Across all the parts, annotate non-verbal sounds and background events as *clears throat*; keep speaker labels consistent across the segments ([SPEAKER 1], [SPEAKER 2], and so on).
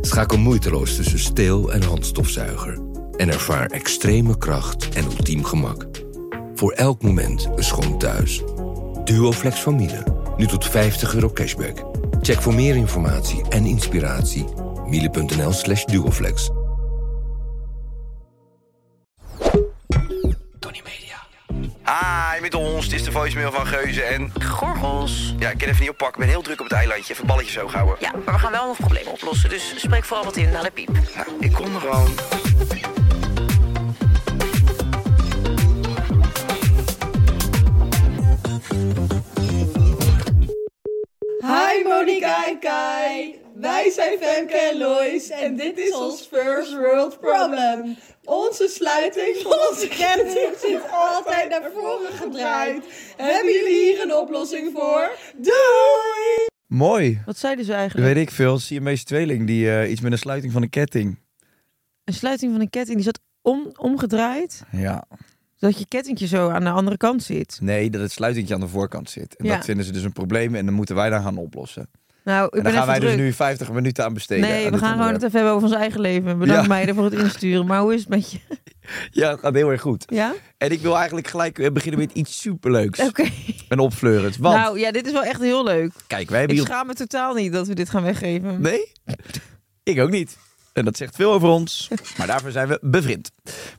[SPEAKER 1] Schakel moeiteloos tussen steel- en handstofzuiger en ervaar extreme kracht en ultiem gemak. Voor elk moment een schoon thuis. Duoflex van Miele, nu tot 50 euro cashback. Check voor meer informatie en inspiratie miele.nl slash duoflex.
[SPEAKER 2] Hi, met ons. Dit is Ah, de voicemail van Geuze en...
[SPEAKER 3] Gorgels.
[SPEAKER 2] Ja, ik kan even niet oppakken. Ik ben heel druk op het eilandje. Even balletjes hoog houden.
[SPEAKER 3] Ja, maar we gaan wel nog problemen oplossen. Dus spreek vooral wat in naar de piep.
[SPEAKER 2] Nou, ik kom er gewoon.
[SPEAKER 4] Hi Monica en Kai. Wij zijn Femke en Lois en dit is ons First World Problem. Onze sluiting van onze grenzen zit altijd naar voren gedraaid. Hebben jullie hier een oplossing voor? Doei!
[SPEAKER 5] Mooi.
[SPEAKER 6] Wat zeiden ze
[SPEAKER 5] Dat
[SPEAKER 6] eigenlijk?
[SPEAKER 5] weet ik veel. Siamese tweeling die eh, iets met een sluiting van een ketting.
[SPEAKER 6] Een sluiting van een ketting, die zat om, omgedraaid.
[SPEAKER 5] Ja.
[SPEAKER 6] Zodat je kettingje zo aan de andere kant zit.
[SPEAKER 5] Nee, dat het sluitingje aan de voorkant zit. En
[SPEAKER 6] Ja.
[SPEAKER 5] dat vinden ze dus een probleem en dan moeten wij dan gaan oplossen.
[SPEAKER 6] Nou, ik
[SPEAKER 5] en
[SPEAKER 6] ben
[SPEAKER 5] dan gaan
[SPEAKER 6] even
[SPEAKER 5] wij
[SPEAKER 6] druk.
[SPEAKER 5] dus nu 50 minuten aan besteden.
[SPEAKER 6] Nee,
[SPEAKER 5] aan
[SPEAKER 6] we
[SPEAKER 5] dit
[SPEAKER 6] gaan gewoon het
[SPEAKER 5] onderwerp.
[SPEAKER 6] even hebben over ons eigen leven. Bedankt
[SPEAKER 5] Ja.
[SPEAKER 6] meiden voor het insturen. Maar hoe is het met
[SPEAKER 5] *laughs*
[SPEAKER 6] je?
[SPEAKER 5] Ja, het gaat heel erg goed.
[SPEAKER 6] Ja?
[SPEAKER 5] En ik wil eigenlijk gelijk eh, beginnen met iets superleuks.
[SPEAKER 6] Oké.
[SPEAKER 5] En opfleurend. Want,
[SPEAKER 6] Nou ja, dit is wel echt heel leuk.
[SPEAKER 5] kijk, wij hebben
[SPEAKER 6] Ik
[SPEAKER 5] hier...
[SPEAKER 6] schaam me totaal niet dat we dit gaan weggeven.
[SPEAKER 5] Nee? Ik ook niet. En dat zegt veel over ons. Maar daarvoor zijn we bevriend.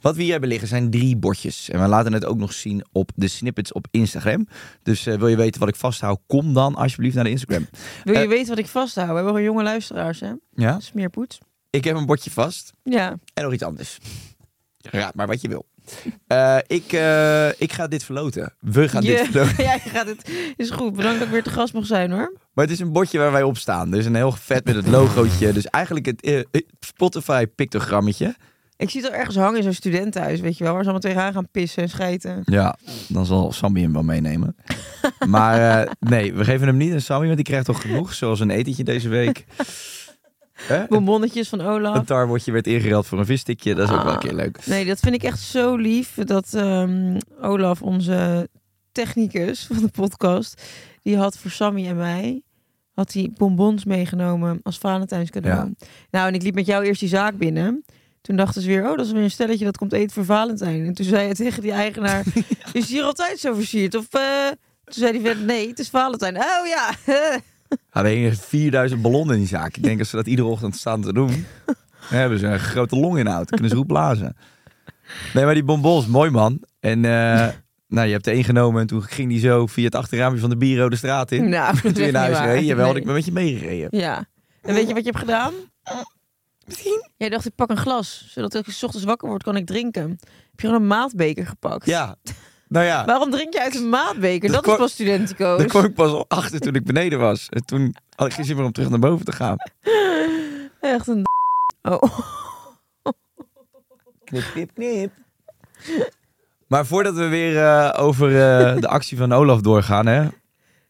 [SPEAKER 5] Wat we hier hebben liggen zijn drie bordjes. En we laten het ook nog zien op de snippets op Instagram. Dus eh, wil je weten wat ik vasthoud, kom dan alsjeblieft naar de Instagram.
[SPEAKER 6] Wil je
[SPEAKER 5] Eh.
[SPEAKER 6] weten wat ik vasthoud? We hebben gewoon jonge luisteraars, hè?
[SPEAKER 5] Ja?
[SPEAKER 6] Smeerpoets.
[SPEAKER 5] Ik heb een bordje vast.
[SPEAKER 6] Ja.
[SPEAKER 5] En nog iets anders. Raad maar wat je wil. Eh, ik, eh, ik ga dit verloten. We gaan dit *laughs*
[SPEAKER 6] Je- *laughs*
[SPEAKER 5] verloten.
[SPEAKER 6] ja, je gaat het. Is goed. Bedankt dat ik weer te gast mag zijn, hoor.
[SPEAKER 5] Maar het is een bordje waar wij op staan. Dus een heel vet met het logootje. Dus eigenlijk het eh, eh, Spotify pictogrammetje.
[SPEAKER 6] Ik zie het al ergens hangen in zo'n studentenhuis, weet je wel. Waar ze allemaal tegenaan gaan pissen en schijten.
[SPEAKER 5] Ja, dan zal Sammy hem wel meenemen. *laughs* Maar eh, nee, we geven hem niet aan Sammy, want die krijgt toch genoeg. Zoals een etentje deze
[SPEAKER 6] *laughs*
[SPEAKER 5] week. Hè?
[SPEAKER 6] Bonbonnetjes van Olaf.
[SPEAKER 5] Een tarwotje werd ingereld voor een visstickje. Dat is ook wel een keer leuk.
[SPEAKER 6] Ah, Nee, dat vind ik echt zo lief. Dat ehm, Olaf, onze technicus van de podcast, die had voor Sammy en mij had hij bonbons meegenomen als Valentijns cadeau. Nou, en ik liep met jou eerst die zaak binnen. Toen dachten ze weer, oh, dat is weer een stelletje dat komt eten voor Valentijn. En toen zei hij tegen die
[SPEAKER 5] *laughs*
[SPEAKER 6] eigenaar, is hier altijd zo versierd? Of eh, toen zei hij verder, nee, het is Valentijn. Oh ja, *laughs*
[SPEAKER 5] Hadden hingen 4000 ballonnen in die zaak. Ik denk als ze dat iedere ochtend staan te doen,
[SPEAKER 6] *laughs*
[SPEAKER 5] dan hebben ze een grote longinhoud. Dan kunnen ze goed blazen. Nee, maar die bonbons, mooi man. En
[SPEAKER 6] *laughs*
[SPEAKER 5] eh, nou, je hebt er één genomen en toen ging die zo via het achterraampje van de bureau de straat in.
[SPEAKER 6] Nou, dat
[SPEAKER 5] Toen
[SPEAKER 6] is
[SPEAKER 5] je naar
[SPEAKER 6] echt
[SPEAKER 5] huis
[SPEAKER 6] niet waar.
[SPEAKER 5] reed. Jawel,
[SPEAKER 6] Nee.
[SPEAKER 5] ik ben met je
[SPEAKER 6] *laughs*
[SPEAKER 5] meegereden.
[SPEAKER 6] ja. En weet je wat je hebt gedaan? Jij dacht, ik pak een glas, zodat ik 's ochtends wakker word, kan ik drinken. Heb je gewoon een maatbeker gepakt?
[SPEAKER 5] Ja, nou ja.
[SPEAKER 6] Waarom drink je uit een maatbeker?
[SPEAKER 5] Dat
[SPEAKER 6] Dat, is
[SPEAKER 5] kwam-
[SPEAKER 6] pas studentico's.
[SPEAKER 5] Daar kwam ik pas al achter toen ik beneden was. En toen had ik geen zin meer om terug naar boven te gaan.
[SPEAKER 6] Echt een d- Oh,
[SPEAKER 5] Knip, knip, knip. Maar voordat we weer eh, over eh, de actie van Olaf doorgaan, hè,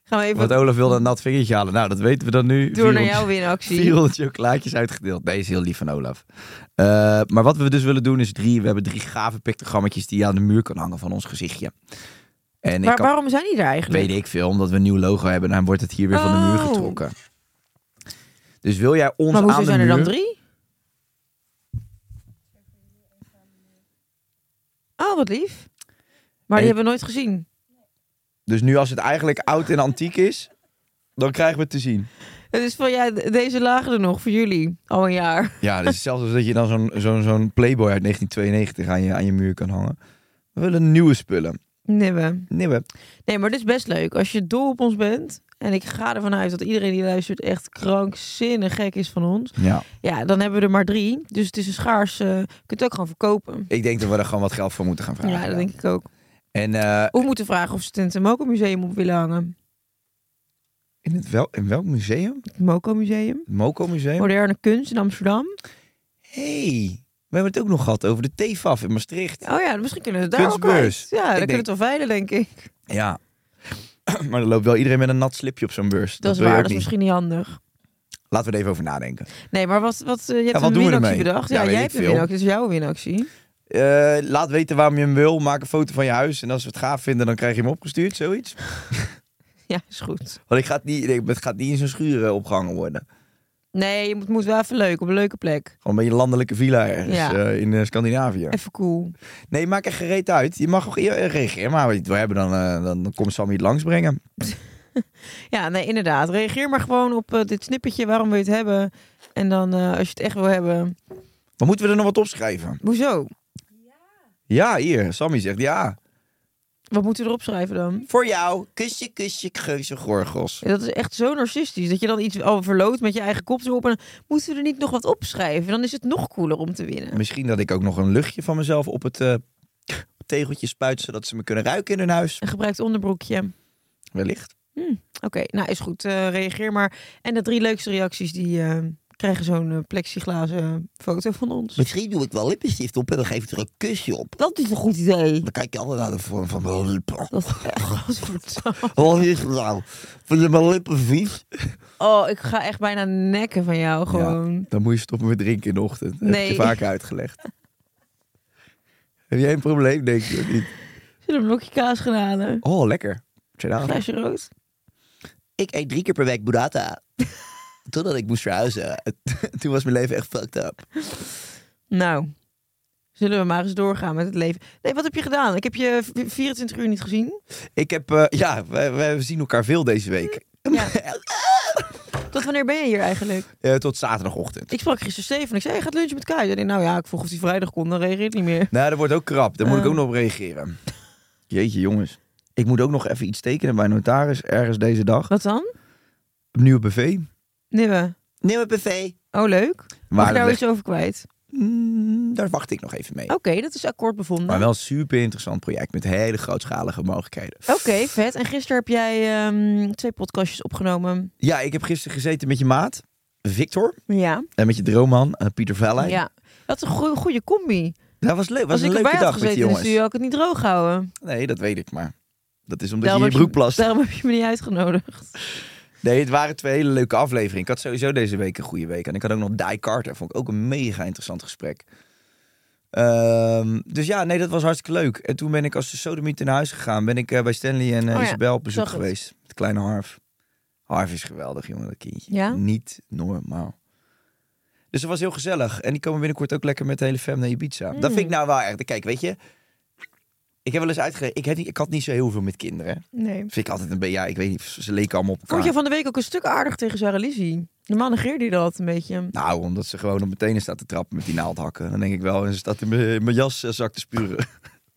[SPEAKER 6] gaan we even
[SPEAKER 5] Want Olaf wilde een nat vingertje halen. Nou, dat weten we dan nu.
[SPEAKER 6] door naar
[SPEAKER 5] 400
[SPEAKER 6] jouw winactie.
[SPEAKER 5] 400 chocolaatjes uitgedeeld. Nee, is heel lief van Olaf. Eh, maar wat we dus willen doen is drie. We hebben drie gave pictogrammetjes die je aan de muur kan hangen van ons gezichtje. En ik
[SPEAKER 6] Maar
[SPEAKER 5] kan-
[SPEAKER 6] waarom zijn die er eigenlijk?
[SPEAKER 5] weet ik veel, omdat we een nieuw logo hebben, dan wordt het hier weer van de muur
[SPEAKER 6] Oh.
[SPEAKER 5] getrokken. Dus wil jij ons
[SPEAKER 6] Maar
[SPEAKER 5] aan de
[SPEAKER 6] hoezo zijn er dan
[SPEAKER 5] muur-
[SPEAKER 6] drie? Oh, wat lief. Maar
[SPEAKER 5] En-
[SPEAKER 6] die hebben we nooit gezien.
[SPEAKER 5] Dus nu als het eigenlijk oud en antiek is, dan krijgen we het te zien.
[SPEAKER 6] Het is van, ja, de- deze lagen er nog voor jullie. Al een jaar.
[SPEAKER 5] Ja, dus zelfs als dat je dan zo'n zo'n zo'n Playboy uit 1992 aan je, aan je muur kan hangen. We willen nieuwe spullen.
[SPEAKER 6] Nibben.
[SPEAKER 5] Nieuwe.
[SPEAKER 6] Nee, maar dit is best leuk. Als je dol op ons bent En ik ga ervan uit dat iedereen die luistert echt krankzinnig gek is van ons.
[SPEAKER 5] Ja.
[SPEAKER 6] Ja, dan hebben we er maar drie. Dus het is een schaars. eh, je kunt het ook gewoon verkopen.
[SPEAKER 5] Ik denk dat we er gewoon wat geld voor moeten gaan
[SPEAKER 6] Ja,
[SPEAKER 5] vragen.
[SPEAKER 6] dat denk ik ook.
[SPEAKER 5] En eh,
[SPEAKER 6] Of we moeten vragen of ze het in het Moco Museum op willen hangen.
[SPEAKER 5] in, het wel, in welk museum?
[SPEAKER 6] Het Moco Museum.
[SPEAKER 5] Het Moco Museum?
[SPEAKER 6] Moderne kunst in Amsterdam.
[SPEAKER 5] hey, we hebben het ook nog gehad over de TFAF in Maastricht.
[SPEAKER 6] Oh ja, misschien kunnen we het daar ook
[SPEAKER 5] Kunstbeurs.
[SPEAKER 6] uit. Ja, dan
[SPEAKER 5] denk-
[SPEAKER 6] kunnen we het wel veilen, denk ik.
[SPEAKER 5] Ja. *clears throat* maar dan loopt wel iedereen met een nat slipje op zo'n beurs.
[SPEAKER 6] Dat, is
[SPEAKER 5] wil je
[SPEAKER 6] waar, dat
[SPEAKER 5] ook
[SPEAKER 6] is misschien
[SPEAKER 5] niet.
[SPEAKER 6] niet handig.
[SPEAKER 5] Laten we er even over nadenken.
[SPEAKER 6] Nee, maar wat, wat, eh, je hebt
[SPEAKER 5] wat
[SPEAKER 6] een
[SPEAKER 5] doen we
[SPEAKER 6] winactie
[SPEAKER 5] ermee?
[SPEAKER 6] bedacht.
[SPEAKER 5] Ja,
[SPEAKER 6] Ja,
[SPEAKER 5] weet
[SPEAKER 6] jij
[SPEAKER 5] ik
[SPEAKER 6] hebt een
[SPEAKER 5] veel.
[SPEAKER 6] winactie, dus jouw winactie. *laughs*
[SPEAKER 5] Eh, laat weten waarom je hem wil. Maak een foto van je huis. En als we het gaaf vinden, dan krijg je hem opgestuurd. Zoiets.
[SPEAKER 6] Ja, is goed.
[SPEAKER 5] Want ik ga het niet, ik, het gaat niet in zo'n schuren opgehangen worden.
[SPEAKER 6] Nee, je moet, moet wel even leuk, op een leuke plek.
[SPEAKER 5] Gewoon bij je landelijke villa ergens
[SPEAKER 6] Ja.
[SPEAKER 5] eh, in eh, Scandinavië.
[SPEAKER 6] Even cool.
[SPEAKER 5] Nee, maak er gereed uit. Je mag ook eh, reageren. Maar wat je het wil hebben, dan, eh, dan komt Sammy het langsbrengen.
[SPEAKER 6] Ja, nee, inderdaad. Reageer maar gewoon op eh, dit snippetje, waarom wil je het hebben? En dan, eh, als je het echt wil hebben,
[SPEAKER 5] Maar moeten we er nog wat opschrijven?
[SPEAKER 6] hoezo?
[SPEAKER 5] Ja, hier. Sammy zegt ja.
[SPEAKER 6] Wat moeten we erop schrijven dan?
[SPEAKER 5] Voor jou. Kusje, kusje, geuze, gorgels.
[SPEAKER 6] Ja, Dat is echt zo narcistisch, dat je dan iets al verloot met je eigen kop erop. En dan moeten we er niet nog wat opschrijven? Dan is het nog cooler om te winnen.
[SPEAKER 5] Misschien dat ik ook nog een luchtje van mezelf op het eh, tegeltje spuit, zodat ze me kunnen ruiken in hun huis.
[SPEAKER 6] Een gebruikt onderbroekje.
[SPEAKER 5] Wellicht.
[SPEAKER 6] Oké, nou is goed. Eh, reageer maar. En de drie leukste reacties die eh, krijgen zo'n eh, plexiglazen eh, foto van ons.
[SPEAKER 5] Misschien doe ik wel lippenstift op en dan geef ik er een kusje op.
[SPEAKER 6] Dat is een goed idee.
[SPEAKER 5] Dan kijk je altijd naar de vorm van mijn lippen.
[SPEAKER 6] Dat is echt godverdamme.
[SPEAKER 5] Wat is het nou? Vinden mijn lippen vies?
[SPEAKER 6] Oh, ik ga echt bijna nekken van jou gewoon.
[SPEAKER 5] Dan moet je stoppen met drinken in de ochtend. Dat heb
[SPEAKER 6] Nee.
[SPEAKER 5] ik je vaker uitgelegd. heb jij een probleem, denk je? of
[SPEAKER 6] Zullen
[SPEAKER 5] niet?
[SPEAKER 6] we een blokje kaas gaan halen?
[SPEAKER 5] Oh, lekker.
[SPEAKER 6] Een Flesje rood.
[SPEAKER 5] Ik eet drie keer per week burrata. *laughs* Totdat ik moest verhuizen. *laughs* Toen was mijn leven echt fucked up.
[SPEAKER 6] Nou, zullen we maar eens doorgaan met het leven. Nee, wat heb je gedaan? Ik heb je v- 24 uur niet gezien.
[SPEAKER 5] Ik heb, eh, ja, wij, wij zien elkaar veel deze week.
[SPEAKER 6] Ja. Tot wanneer ben je hier eigenlijk?
[SPEAKER 5] Eh, tot zaterdagochtend.
[SPEAKER 6] Ik sprak gisteren Steven en ik zei, hij gaat lunchen met Kai. Ik dacht, nou ja, ik vroeg of hij vrijdag kon, dan reageert hij niet meer.
[SPEAKER 5] Nou, dat wordt ook krap. Daar moet ik
[SPEAKER 6] Eh.
[SPEAKER 5] ook nog op reageren. Jeetje, jongens. Ik moet ook nog even iets tekenen bij een notaris. Ergens deze dag.
[SPEAKER 6] Wat dan?
[SPEAKER 5] Nieuwe BV.
[SPEAKER 6] Nieuwe.
[SPEAKER 5] Nieuwe BV.
[SPEAKER 6] Oh, leuk. Mag
[SPEAKER 5] Maar
[SPEAKER 6] ik
[SPEAKER 5] dat
[SPEAKER 6] daar
[SPEAKER 5] ligt-
[SPEAKER 6] iets over kwijt?
[SPEAKER 5] Mm, daar wacht ik nog even mee.
[SPEAKER 6] Oké, dat is akkoord bevonden.
[SPEAKER 5] Maar wel een super interessant project met hele grootschalige mogelijkheden.
[SPEAKER 6] Oké, vet. En gisteren heb jij ehm, twee podcastjes opgenomen.
[SPEAKER 5] Ja, ik heb gisteren gezeten met je maat, Victor.
[SPEAKER 6] Ja.
[SPEAKER 5] En met je droomman, eh, Pieter Vellijn.
[SPEAKER 6] ja. Dat is een goe- goede combi.
[SPEAKER 5] Dat was leuk. was
[SPEAKER 6] Als
[SPEAKER 5] een
[SPEAKER 6] ik
[SPEAKER 5] leuke
[SPEAKER 6] erbij had
[SPEAKER 5] dag met
[SPEAKER 6] gezeten dus eh- in de
[SPEAKER 5] die jongens.
[SPEAKER 6] studio, had ik het niet droog houden.
[SPEAKER 5] Nee, dat weet ik maar. Dat is omdat
[SPEAKER 6] Daarom
[SPEAKER 5] je
[SPEAKER 6] heb
[SPEAKER 5] in je broek plast.
[SPEAKER 6] Daarom heb je me niet uitgenodigd.
[SPEAKER 5] Nee, het waren twee hele leuke afleveringen. Ik had sowieso deze week een goede week. En ik had ook nog Die Carter. Vond ik ook een mega interessant gesprek. Ehm, dus ja, nee, dat was hartstikke leuk. En toen ben ik als de sodomiet naar huis gegaan. Ben ik eh, bij Stanley en eh,
[SPEAKER 6] Oh ja,
[SPEAKER 5] Isabel op bezoek
[SPEAKER 6] zag het.
[SPEAKER 5] geweest. Het kleine Harf. Harf is geweldig, jongen, dat kindje.
[SPEAKER 6] Ja?
[SPEAKER 5] Niet normaal. Dus dat was heel gezellig. En die komen binnenkort ook lekker met de hele fam naar Ibiza. Dat vind ik
[SPEAKER 6] Hmm.
[SPEAKER 5] nou wel echt. Kijk, weet je... Ik heb wel eens uitgelegd... Ik, heb niet- ik had niet zo heel veel met kinderen.
[SPEAKER 6] Nee.
[SPEAKER 5] Vind ik altijd een beetje... Ja, ik weet niet. Ze leken allemaal op elkaar.
[SPEAKER 6] Vond je van de week ook een stuk aardig tegen Sarah Lizzie? Normaal negeerde je dat een beetje.
[SPEAKER 5] Nou, omdat ze gewoon op mijn tenen staat te trappen met die naaldhakken. Dan denk ik wel, en ze staat in mijn in mijn jaszak te spuren.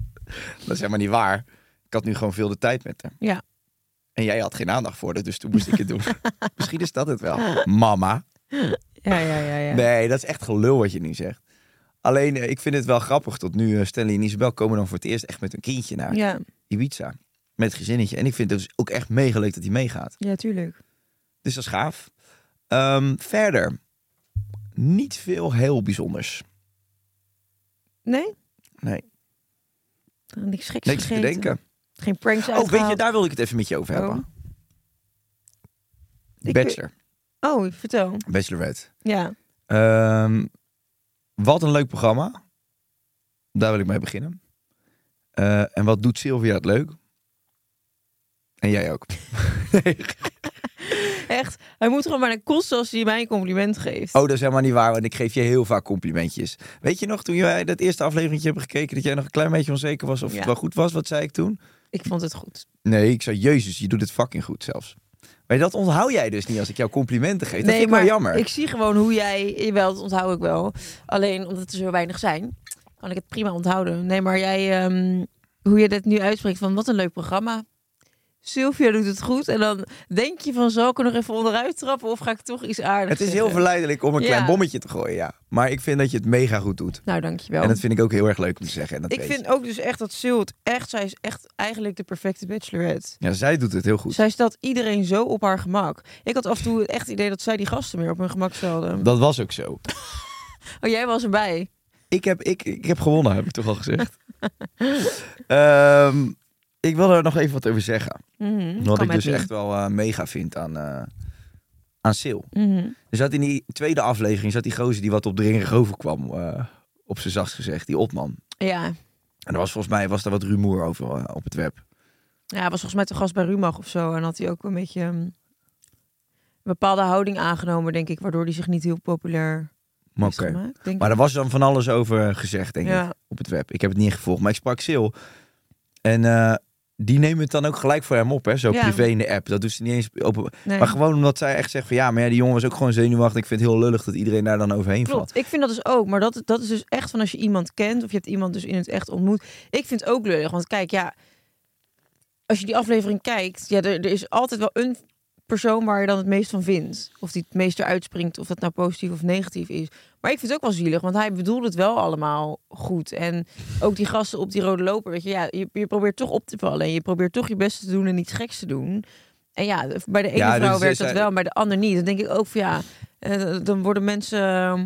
[SPEAKER 5] *laughs* dat is helemaal niet waar. Ik had nu gewoon veel de tijd met haar.
[SPEAKER 6] Ja.
[SPEAKER 5] En jij had geen aandacht voor dat, dus toen moest
[SPEAKER 6] *laughs*
[SPEAKER 5] ik het doen. Misschien is dat het wel. Mama.
[SPEAKER 6] Ja, ja, ja. ja.
[SPEAKER 5] Nee, dat is echt gelul wat je nu zegt. Alleen, eh, ik vind het wel grappig tot nu. eh, Stanley en Isabel komen dan voor het eerst echt met een kindje naar
[SPEAKER 6] Ja,
[SPEAKER 5] Ibiza. Met het gezinnetje. En ik vind het dus ook echt mega leuk dat hij meegaat.
[SPEAKER 6] ja, tuurlijk.
[SPEAKER 5] Dus dat is gaaf. Ehm, verder, niet veel heel bijzonders.
[SPEAKER 6] Nee?
[SPEAKER 5] Nee.
[SPEAKER 6] Niks geks
[SPEAKER 5] Niks te
[SPEAKER 6] gegeten.
[SPEAKER 5] denken.
[SPEAKER 6] Geen pranks
[SPEAKER 5] Oh, weet je,
[SPEAKER 6] uitgehaald.
[SPEAKER 5] daar wil ik het even met je over hebben.
[SPEAKER 6] Oh, Ik-
[SPEAKER 5] Bachelor.
[SPEAKER 6] Oh, vertel.
[SPEAKER 5] Bachelorette.
[SPEAKER 6] Ja.
[SPEAKER 5] Ehm, wat een leuk programma. Daar wil ik mee beginnen. Eh, en wat doet Sylvia het leuk? En jij ook.
[SPEAKER 6] Echt, hij moet gewoon maar naar kosten als hij mij een compliment geeft.
[SPEAKER 5] Oh, dat is helemaal niet waar, want ik geef je heel vaak complimentjes. Weet je nog, toen jij dat eerste afleveringje hebt gekeken... dat jij nog een klein beetje onzeker was of
[SPEAKER 6] Ja.
[SPEAKER 5] het wel goed was? Wat zei ik toen?
[SPEAKER 6] Ik vond het goed.
[SPEAKER 5] Nee, ik zei, jezus, je doet het fucking goed zelfs. Maar dat onthoud jij dus niet als ik jou complimenten geef. Dat
[SPEAKER 6] nee,
[SPEAKER 5] vind ik
[SPEAKER 6] maar
[SPEAKER 5] wel jammer.
[SPEAKER 6] ik zie gewoon hoe jij... Jawel, dat onthoud ik wel. Alleen omdat er zo weinig zijn, kan ik het prima onthouden. Nee, maar jij... ehm, hoe je dit nu uitspreekt van wat een leuk programma. Sylvia doet het goed. En dan denk je van, zal ik er nog even onderuit trappen of ga ik toch iets aardigs
[SPEAKER 5] *laughs* Het is heel
[SPEAKER 6] zeggen?
[SPEAKER 5] verleidelijk om een
[SPEAKER 6] Ja.
[SPEAKER 5] klein bommetje te gooien, ja. Maar ik vind dat je het mega goed doet.
[SPEAKER 6] Nou, dankjewel.
[SPEAKER 5] En dat vind ik ook heel erg leuk om te zeggen. En dat
[SPEAKER 6] ik
[SPEAKER 5] weet
[SPEAKER 6] vind
[SPEAKER 5] je.
[SPEAKER 6] ook dus echt dat Zult echt, zij is echt eigenlijk de perfecte bachelorette.
[SPEAKER 5] Ja, zij doet het heel goed.
[SPEAKER 6] Zij stelt iedereen zo op haar gemak. Ik had af en toe het echt idee dat zij die gasten meer op hun gemak stelden.
[SPEAKER 5] Dat was ook zo.
[SPEAKER 6] Oh, jij was erbij.
[SPEAKER 5] Ik heb, ik, ik heb gewonnen, heb ik toch al gezegd.
[SPEAKER 6] *laughs*
[SPEAKER 5] Ehm, ik wil er nog even wat over zeggen.
[SPEAKER 6] Mhm,
[SPEAKER 5] Wat
[SPEAKER 6] kan
[SPEAKER 5] ik
[SPEAKER 6] met
[SPEAKER 5] dus
[SPEAKER 6] wie.
[SPEAKER 5] echt wel eh, mega vind aan, eh aan Sil.
[SPEAKER 6] Mhm.
[SPEAKER 5] Er zat in die tweede aflevering zat die gozer die wat opdringerig overkwam. eh op zijn zachtst gezegd, die opman.
[SPEAKER 6] Ja.
[SPEAKER 5] En er was volgens mij was daar wat rumoer over eh, op het web.
[SPEAKER 6] ja, hij was volgens mij te gast bij Rumach of zo. En had hij ook een beetje ehm, een bepaalde houding aangenomen, denk ik. Waardoor hij zich niet heel populair
[SPEAKER 5] Maar
[SPEAKER 6] heeft
[SPEAKER 5] oké.
[SPEAKER 6] gemaakt. Denk
[SPEAKER 5] Maar
[SPEAKER 6] ik.
[SPEAKER 5] er was dan van alles over gezegd, denk
[SPEAKER 6] Ja.
[SPEAKER 5] ik, op het web. Ik heb het niet gevolgd, maar ik sprak Sil. En eh, die nemen het dan ook gelijk voor hem op, hè? Zo
[SPEAKER 6] Ja.
[SPEAKER 5] privé in de app. Dat doet ze niet eens open.
[SPEAKER 6] Nee.
[SPEAKER 5] Maar gewoon omdat zij echt zegt van ja, maar ja, die jongen was ook gewoon zenuwachtig. Ik vind het heel lullig dat iedereen daar dan overheen valt.
[SPEAKER 6] Klopt, ik vind dat dus ook. Maar dat, dat is dus echt van als je iemand kent of je hebt iemand dus in het echt ontmoet. Ik vind het ook lullig, want kijk, ja, als je die aflevering kijkt, ja, er, er is altijd wel een persoon waar je dan het meest van vindt. Of die het meest eruit springt, of dat nou positief of negatief is. Maar ik vind het ook wel zielig, want hij bedoelde het wel allemaal goed. En ook die gasten op die rode loper, weet je, ja, je, je probeert toch op te vallen. En je probeert toch je best te doen en niets geks te doen. En ja, bij de ene
[SPEAKER 5] Ja, dus
[SPEAKER 6] vrouw
[SPEAKER 5] zij-
[SPEAKER 6] werkt dat
[SPEAKER 5] zij-
[SPEAKER 6] wel, maar bij de ander niet. Dan denk ik ook van ja, eh, dan worden mensen... eh,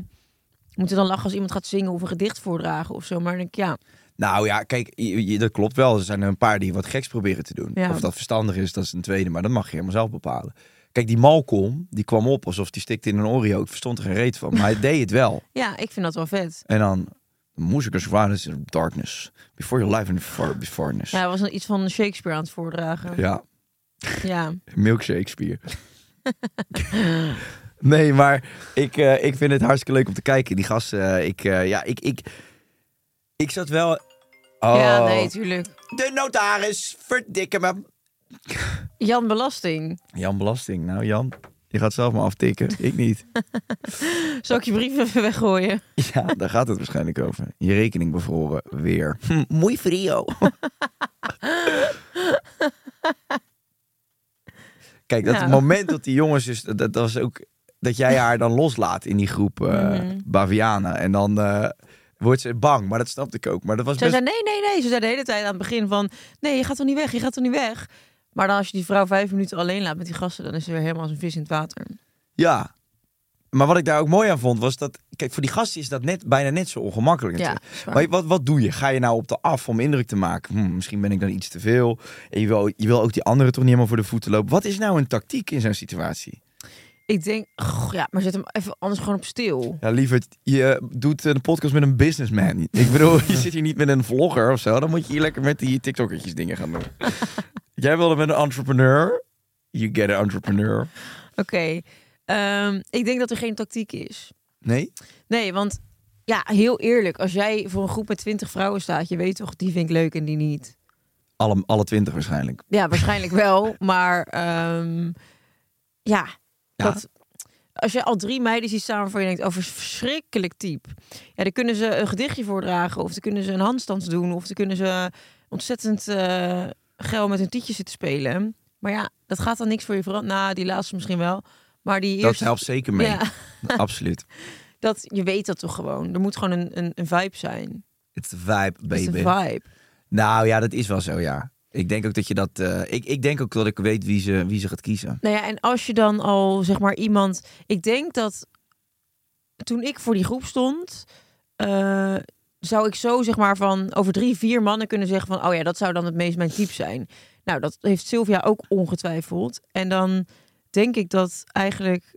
[SPEAKER 6] moeten dan lachen als iemand gaat zingen of een gedicht voordragen of zo. Maar dan denk ik, ja,
[SPEAKER 5] Nou ja, kijk, je- je- dat klopt wel. Er zijn er een paar die wat geks proberen te doen.
[SPEAKER 6] Ja.
[SPEAKER 5] Of dat verstandig is, dat is een tweede. Maar dat mag je helemaal zelf bepalen. Kijk, die Malcolm, die kwam op alsof die stikte in een Oreo. Ik verstond er geen reet van.
[SPEAKER 6] *laughs*
[SPEAKER 5] Maar hij deed het wel.
[SPEAKER 6] ja, ik vind dat wel vet.
[SPEAKER 5] En dan, the music is violence in darkness. Before your life in the far- beforeness.
[SPEAKER 6] Ja, hij was dan iets van Shakespeare aan het voordragen. Ja,
[SPEAKER 5] Ja, milk Shakespeare. nee, maar ik, eh, ik vind het hartstikke leuk om te kijken. Die gasten, eh, ik, eh, ja, ik, ik, ik zat wel... Oh,
[SPEAKER 6] ja nee, tuurlijk.
[SPEAKER 5] de notaris, verdikke me.
[SPEAKER 6] Jan Belasting,
[SPEAKER 5] Jan Belasting, nou Jan, je gaat zelf maar aftikken. Ik niet.
[SPEAKER 6] zal ik je brief even *laughs* weggooien?
[SPEAKER 5] *laughs* Ja, daar gaat het waarschijnlijk over. Je rekening bevroren,
[SPEAKER 6] *laughs*
[SPEAKER 5] weer. Hm, Muy frio. *laughs* Kijk, dat
[SPEAKER 6] Ja.
[SPEAKER 5] moment dat die jongens dus... Dat, dat was ook dat jij haar dan loslaat in die groep eh
[SPEAKER 6] Mhm.
[SPEAKER 5] Bavianen. En dan eh, wordt ze bang, maar dat snapte ik ook. Maar dat was
[SPEAKER 6] Zij
[SPEAKER 5] best...
[SPEAKER 6] zei, nee, nee, nee. Ze zei de hele tijd aan het begin van, nee, je gaat toch niet weg, je gaat toch niet weg? Maar dan als je die vrouw vijf minuten alleen laat met die gasten, dan is ze weer helemaal als een vis in het water.
[SPEAKER 5] Ja. Maar wat ik daar ook mooi aan vond, was dat... Kijk, voor die gasten is dat net, bijna net zo ongemakkelijk.
[SPEAKER 6] Ja,
[SPEAKER 5] natuurlijk.
[SPEAKER 6] is waar.
[SPEAKER 5] maar wat, wat doe je? Ga je nou op de af om indruk te maken? Hm, misschien ben ik dan iets te veel. En je wil, je wil ook die anderen toch niet helemaal voor de voeten lopen. Wat is nou een tactiek in zo'n situatie?
[SPEAKER 6] Ik denk, goh, ja, maar zet hem even anders gewoon op stil.
[SPEAKER 5] Ja, liever, je doet een podcast met een businessman. Ik bedoel, *laughs* je zit hier niet met een vlogger of zo. Dan moet je hier lekker met die TikTokkertjes dingen
[SPEAKER 6] *laughs*
[SPEAKER 5] gaan doen. Jij wilde met een entrepreneur. You get an entrepreneur.
[SPEAKER 6] Oké, ehm, ik denk dat er geen tactiek is.
[SPEAKER 5] Nee?
[SPEAKER 6] Nee, want ja, heel eerlijk, als jij voor een groep met twintig vrouwen staat, je weet toch, die vind ik leuk en die niet.
[SPEAKER 5] Alle, alle twintig waarschijnlijk.
[SPEAKER 6] Ja, waarschijnlijk *laughs* wel, maar ehm, ja,
[SPEAKER 5] Ja.
[SPEAKER 6] Dat, als je al drie meiden ziet staan waarvan je denkt, oh, verschrikkelijk type. Ja, dan kunnen ze een gedichtje voordragen, of dan kunnen ze een handstand doen, of dan kunnen ze ontzettend eh geil met hun tietjes zitten spelen. Maar ja, dat gaat dan niks voor je veranderen. Nou, die laatste misschien wel, maar die
[SPEAKER 5] Dat
[SPEAKER 6] eerste...
[SPEAKER 5] helpt zeker mee.
[SPEAKER 6] Ja, *laughs*
[SPEAKER 5] Absoluut.
[SPEAKER 6] dat, je weet dat toch gewoon. Er moet gewoon een, een, een vibe zijn.
[SPEAKER 5] It's a vibe,
[SPEAKER 6] Dat is
[SPEAKER 5] baby.
[SPEAKER 6] de vibe.
[SPEAKER 5] Nou ja, dat is wel zo, ja. Ik denk ook dat je dat. eh, ik, ik denk ook dat ik weet wie ze, wie ze gaat kiezen.
[SPEAKER 6] Nou ja, en als je dan al zeg maar iemand. Ik denk dat toen ik voor die groep stond, eh, zou ik zo zeg maar van over drie, vier mannen kunnen zeggen van, oh ja, dat zou dan het meest mijn type zijn. Nou, dat heeft Sylvia ook ongetwijfeld. En dan denk ik dat eigenlijk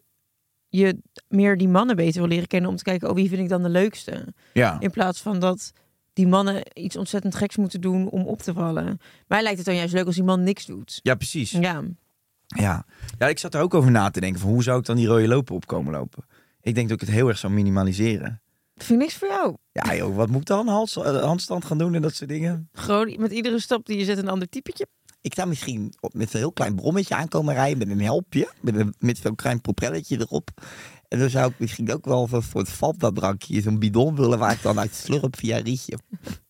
[SPEAKER 6] je meer die mannen beter wil leren kennen om te kijken, oh wie vind ik dan de leukste?
[SPEAKER 5] Ja.
[SPEAKER 6] In plaats van dat die mannen iets ontzettend geks moeten doen om op te vallen. Mij lijkt het dan juist leuk als die man niks doet.
[SPEAKER 5] Ja, precies. Ja.
[SPEAKER 6] Ja.
[SPEAKER 5] Ja. ik zat er ook over na te denken van hoe zou ik dan die rode loper op komen lopen? Ik denk dat ik het heel erg zou minimaliseren.
[SPEAKER 6] Dat vind ik niks voor jou.
[SPEAKER 5] Ja, joh, wat moet ik dan? Hals- eh, handstand gaan doen en dat soort dingen?
[SPEAKER 6] Gewoon met iedere stap die je zet een ander typetje.
[SPEAKER 5] Ik zou misschien op, met een heel klein brommetje aankomen rijden met een helpje. Met, een- met zo'n klein propelletje erop. En dan zou ik misschien ook wel voor, voor het Fanta-drankje zo'n bidon willen waar ik dan uit slurp via rietje.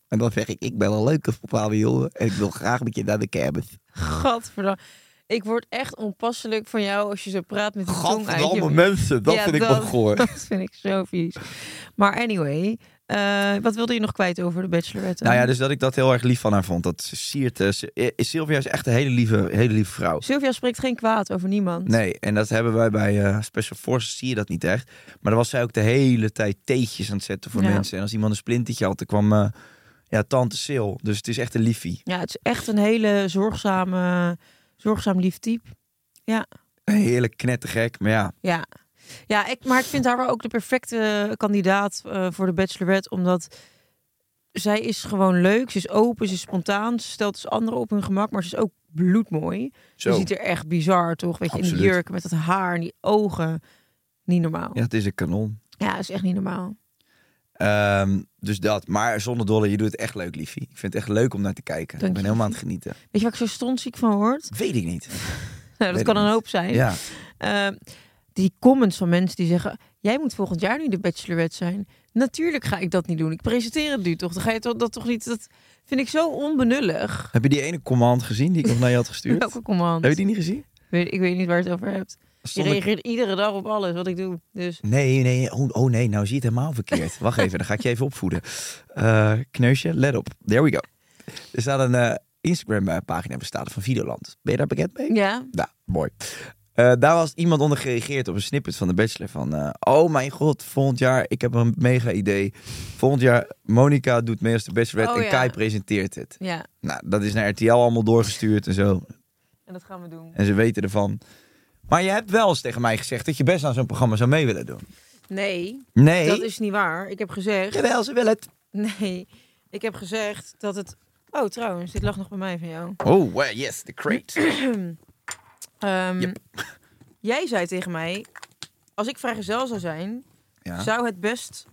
[SPEAKER 5] En dan zeg ik, ik ben een leuke bepaalde jongen. En ik wil graag met je naar de kermis.
[SPEAKER 6] Gadverdamme. Ik word echt onpasselijk van jou als je zo praat met die tong uit je...
[SPEAKER 5] Gadverdamme mensen, dat
[SPEAKER 6] Ja,
[SPEAKER 5] vind ik
[SPEAKER 6] dat- *laughs*
[SPEAKER 5] ongoor.
[SPEAKER 6] Dat vind ik zo vies. Maar anyway, eh, wat wilde je nog kwijt over de Bachelorette?
[SPEAKER 5] Nou ja, dus dat ik dat heel erg lief van haar vond. Dat ze siert... eh, ze- eh, Sylvia is echt een hele lieve, hele lieve vrouw.
[SPEAKER 6] Sylvia spreekt geen kwaad over niemand.
[SPEAKER 5] Nee, en dat hebben wij bij eh, Special Forces, zie je dat niet echt. Maar dan was zij ook de hele tijd theetjes aan het zetten voor
[SPEAKER 6] Ja.
[SPEAKER 5] mensen. En als iemand een splintertje had, dan kwam eh, ja, tante Sil. Dus het is echt een liefie.
[SPEAKER 6] Ja, het is echt een hele zorgzame, zorgzaam lief type.
[SPEAKER 5] Een heerlijk knettergek, maar ja.
[SPEAKER 6] Ja. Ja, ik, maar ik vind haar wel ook de perfecte kandidaat eh, voor de Bachelorette. Omdat zij is gewoon leuk. Ze is open, ze is spontaan. Ze stelt dus anderen op hun gemak. Maar ze is ook bloedmooi.
[SPEAKER 5] Zo.
[SPEAKER 6] Ze ziet er echt bizar, toch? Weet je, in die
[SPEAKER 5] Absoluut.
[SPEAKER 6] jurk met dat haar en die ogen. Niet normaal.
[SPEAKER 5] Ja, het is een kanon.
[SPEAKER 6] Ja, dat is echt niet normaal.
[SPEAKER 5] Ehm, dus dat. Maar zonder dolle, je doet het echt leuk, liefie. Ik vind het echt leuk om naar te kijken.
[SPEAKER 6] Dank
[SPEAKER 5] ik ben
[SPEAKER 6] je,
[SPEAKER 5] helemaal aan het genieten.
[SPEAKER 6] Weet je waar ik zo stonziek van word? *laughs*
[SPEAKER 5] Weet ik niet.
[SPEAKER 6] Nou,
[SPEAKER 5] Weet
[SPEAKER 6] dat
[SPEAKER 5] ik
[SPEAKER 6] kan een
[SPEAKER 5] niet.
[SPEAKER 6] hoop zijn.
[SPEAKER 5] Ja.
[SPEAKER 6] Eh, die comments van mensen die zeggen... jij moet volgend jaar nu de bachelorette zijn. Natuurlijk ga ik dat niet doen. Ik presenteer het nu toch. Dan ga je toch, dat toch niet... Dat vind ik zo onbenullig.
[SPEAKER 5] Heb je die ene command gezien die ik nog naar je had gestuurd?
[SPEAKER 6] Welke command?
[SPEAKER 5] Heb je die niet gezien?
[SPEAKER 6] Weet, ik weet niet waar je het over hebt. Je
[SPEAKER 5] Stond ik-
[SPEAKER 6] reageert iedere dag op alles wat ik doe. Dus
[SPEAKER 5] Nee, nee. Oh, oh nee, nou zie je het helemaal verkeerd. Wacht even, dan ga ik je even opvoeden. Eh, kneusje, let op. There we go. Er staat een eh, Instagram-pagina bestaat van Videoland. Ben je daar bekend mee?
[SPEAKER 6] ja,
[SPEAKER 5] Nou, mooi. Eh, daar was iemand onder gereageerd op een snippet van de Bachelor van... eh, oh mijn god, volgend jaar, ik heb een mega idee. Volgend jaar, Monica doet mee als de Bachelorette
[SPEAKER 6] Oh
[SPEAKER 5] en
[SPEAKER 6] ja.
[SPEAKER 5] Kai presenteert het.
[SPEAKER 6] ja.
[SPEAKER 5] Nou, dat is naar RTL allemaal doorgestuurd en zo.
[SPEAKER 6] En dat gaan we doen.
[SPEAKER 5] En ze weten ervan. Maar je hebt wel eens tegen mij gezegd dat je best aan zo'n programma zou mee willen doen.
[SPEAKER 6] Nee,
[SPEAKER 5] Nee,
[SPEAKER 6] dat is niet waar. Ik heb gezegd...
[SPEAKER 5] jawel, ze wil het.
[SPEAKER 6] Nee, ik heb gezegd dat het... Oh, trouwens, dit lag nog bij mij van jou.
[SPEAKER 5] Oh, well, yes, the
[SPEAKER 6] *clears throat*
[SPEAKER 5] crate.
[SPEAKER 6] Ehm, *laughs*
[SPEAKER 5] Yep.
[SPEAKER 6] Jij zei tegen mij, als ik vrijgezel zou zijn,
[SPEAKER 5] Ja.
[SPEAKER 6] zou het best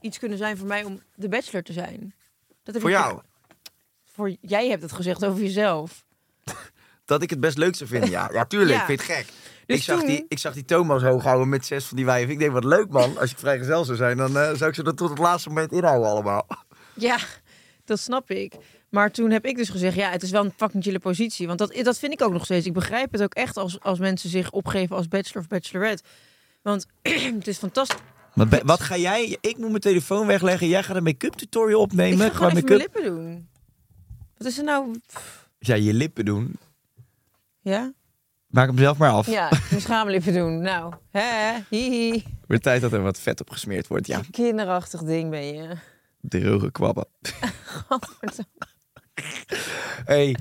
[SPEAKER 6] iets kunnen zijn voor mij om de bachelor te zijn. Dat heb
[SPEAKER 5] Voor
[SPEAKER 6] ik-
[SPEAKER 5] jou,
[SPEAKER 6] Voor jij hebt het gezegd over jezelf.
[SPEAKER 5] dat ik het best leuk zou vinden.
[SPEAKER 6] *laughs*
[SPEAKER 5] Ja, ja tuurlijk,
[SPEAKER 6] Ja.
[SPEAKER 5] vind ik het gek.
[SPEAKER 6] Dus
[SPEAKER 5] ik, zag
[SPEAKER 6] toen-
[SPEAKER 5] die, ik zag die Thomas hooghouden met zes van die wijven. Ik denk, wat leuk man. Als ik vrijgezel zou zijn, dan eh, zou ik ze dat tot het laatste moment inhouden *laughs* allemaal.
[SPEAKER 6] Ja, dat snap ik. Maar toen heb ik dus gezegd, ja, het is wel een fucking chille positie. Want dat, dat vind ik ook nog steeds. Ik begrijp het ook echt als, als mensen zich opgeven als bachelor of bachelorette. Want *clears throat* het is fantastisch.
[SPEAKER 5] Wat, ben- wat ga jij? Ik moet mijn telefoon wegleggen. Jij gaat een make-up tutorial
[SPEAKER 6] ik ga
[SPEAKER 5] opnemen. qua
[SPEAKER 6] gewoon even mijn
[SPEAKER 5] make-up.
[SPEAKER 6] lippen doen. Wat is er nou?
[SPEAKER 5] Ja, je lippen doen.
[SPEAKER 6] Ja?
[SPEAKER 5] Maak hem zelf maar af.
[SPEAKER 6] Ja, mijn schaamlippen doen. Nou, hè, hihi.
[SPEAKER 5] Wordt tijd dat er wat vet op gesmeerd wordt. Ja,
[SPEAKER 6] Een kinderachtig ding ben je.
[SPEAKER 5] droge kwabben. *laughs* Hé, hey,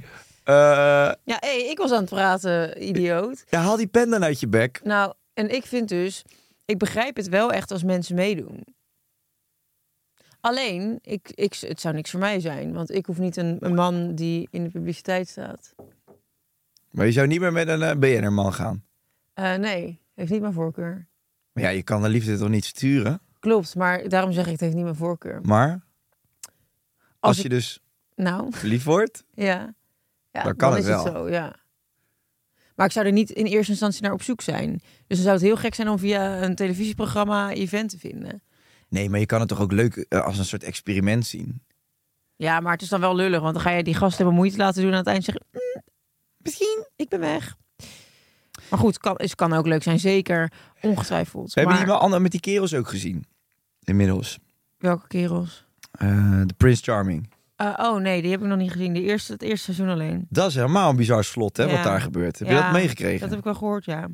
[SPEAKER 6] *laughs* Ja, hé, ik was aan het praten, idioot.
[SPEAKER 5] eh, Ja, haal die pen dan uit je bek.
[SPEAKER 6] Nou, en ik vind dus, ik begrijp het wel echt als mensen meedoen. Alleen, ik, ik, het zou niks voor mij zijn, want ik hoef niet een, een man die in de publiciteit staat.
[SPEAKER 5] Maar je zou niet meer met een eh, BNR-man gaan.
[SPEAKER 6] Eh, nee, heeft niet mijn voorkeur.
[SPEAKER 5] Maar ja, je kan de liefde toch niet sturen?
[SPEAKER 6] Klopt, maar daarom zeg ik het heeft niet mijn voorkeur.
[SPEAKER 5] Maar als,
[SPEAKER 6] Als
[SPEAKER 5] je
[SPEAKER 6] ik-
[SPEAKER 5] dus
[SPEAKER 6] Nou,
[SPEAKER 5] verliefd wordt...
[SPEAKER 6] ja. ja
[SPEAKER 5] Dan kan
[SPEAKER 6] is
[SPEAKER 5] het
[SPEAKER 6] het
[SPEAKER 5] wel.
[SPEAKER 6] zo, ja. Maar ik zou er niet in eerste instantie naar op zoek zijn. Dus dan zou het heel gek zijn om via een televisieprogramma event te vinden.
[SPEAKER 5] Nee, maar je kan het toch ook leuk eh, als een soort experiment zien?
[SPEAKER 6] Ja, maar het is dan wel lullig, want dan ga je die gasten helemaal moeite laten doen en aan het eind zeggen, "Mm, misschien, ik ben weg. Maar goed, kan, het kan ook leuk zijn, zeker, ongetwijfeld.
[SPEAKER 5] We hebben
[SPEAKER 6] maar
[SPEAKER 5] die wel ander met die kerels ook gezien. Inmiddels.
[SPEAKER 6] welke kerels?
[SPEAKER 5] Eh, De Prince Charming.
[SPEAKER 6] Eh, oh nee, die heb ik nog niet gezien. De eerste, het eerste seizoen alleen.
[SPEAKER 5] Dat is helemaal een bizar slot, hè,
[SPEAKER 6] Ja.
[SPEAKER 5] wat daar gebeurt. Heb je
[SPEAKER 6] Ja,
[SPEAKER 5] dat meegekregen?
[SPEAKER 6] Dat heb ik wel gehoord, ja. Wat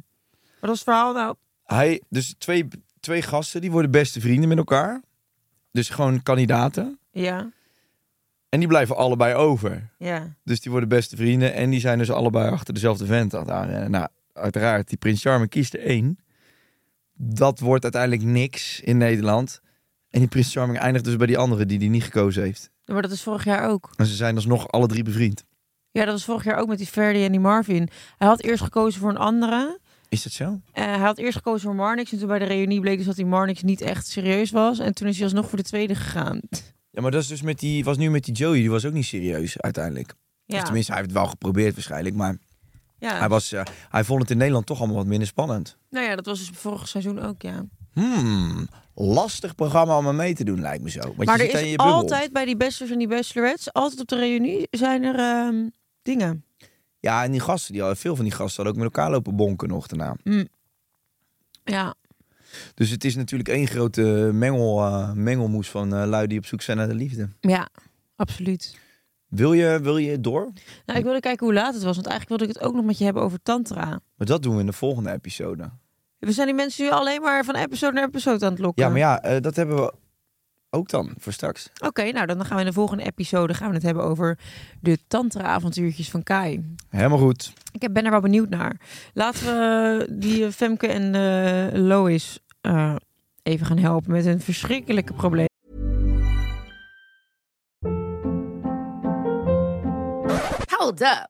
[SPEAKER 6] was het verhaal nou?
[SPEAKER 5] Hij, dus twee, twee gasten, die worden beste vrienden met elkaar. Dus gewoon kandidaten.
[SPEAKER 6] Ja,
[SPEAKER 5] En die blijven allebei over.
[SPEAKER 6] ja.
[SPEAKER 5] Dus die worden beste vrienden. En die zijn dus allebei achter dezelfde vent aan het aanrennen. Nou, uiteraard, die Prins Charming kiest er één. Dat wordt uiteindelijk niks in Nederland. En die Prins Charming eindigt dus bij die andere die die niet gekozen heeft.
[SPEAKER 6] Maar dat is vorig jaar ook.
[SPEAKER 5] En ze zijn alsnog alle drie bevriend.
[SPEAKER 6] Ja, dat was vorig jaar ook met die Ferdy en die Marvin. Hij had eerst gekozen voor een andere.
[SPEAKER 5] Is dat zo?
[SPEAKER 6] Eh, hij had eerst gekozen voor Marnix. En toen bij de reunie bleek dus dat die Marnix niet echt serieus was. En toen is hij alsnog voor de tweede gegaan.
[SPEAKER 5] Ja, maar dat is dus met die, was nu met die Joey. Die was ook niet serieus uiteindelijk.
[SPEAKER 6] Ja.
[SPEAKER 5] Of tenminste, hij heeft het wel geprobeerd waarschijnlijk. Maar
[SPEAKER 6] ja.
[SPEAKER 5] hij, was, eh, hij vond het in Nederland toch allemaal wat minder spannend.
[SPEAKER 6] Nou ja, dat was dus vorig seizoen ook, ja.
[SPEAKER 5] Hmm, lastig programma om aan mee te doen, lijkt me zo. Want
[SPEAKER 6] maar
[SPEAKER 5] je
[SPEAKER 6] er
[SPEAKER 5] zit aan
[SPEAKER 6] is
[SPEAKER 5] je bubbel.
[SPEAKER 6] altijd bij die bachelors en die bachelorettes, altijd op de reunie, zijn er ehm, dingen.
[SPEAKER 5] Ja, en die gasten, die, hadden- veel van die gasten hadden ook met elkaar lopen bonken nog daarna.
[SPEAKER 6] Ja.
[SPEAKER 5] Dus het is natuurlijk één grote mengel, eh, mengelmoes van eh, lui die op zoek zijn naar de liefde.
[SPEAKER 6] Ja, absoluut.
[SPEAKER 5] Wil je, wil je door?
[SPEAKER 6] Nou, ik wilde kijken hoe laat het was, want eigenlijk wilde ik het ook nog met je hebben over tantra.
[SPEAKER 5] Maar dat doen we in de volgende episode.
[SPEAKER 6] We zijn die mensen nu alleen maar van episode naar episode aan het lokken.
[SPEAKER 5] Ja, maar ja, eh, dat hebben we ook dan voor straks.
[SPEAKER 6] Oké, nou dan gaan we in de volgende episode gaan we het hebben over de tantra-avontuurtjes van Kai.
[SPEAKER 5] Helemaal goed.
[SPEAKER 6] Ik heb- ben er wel benieuwd naar. Laten we die eh, Femke en eh, Lois eh, even gaan helpen met hun verschrikkelijke probleem.
[SPEAKER 7] Hold up.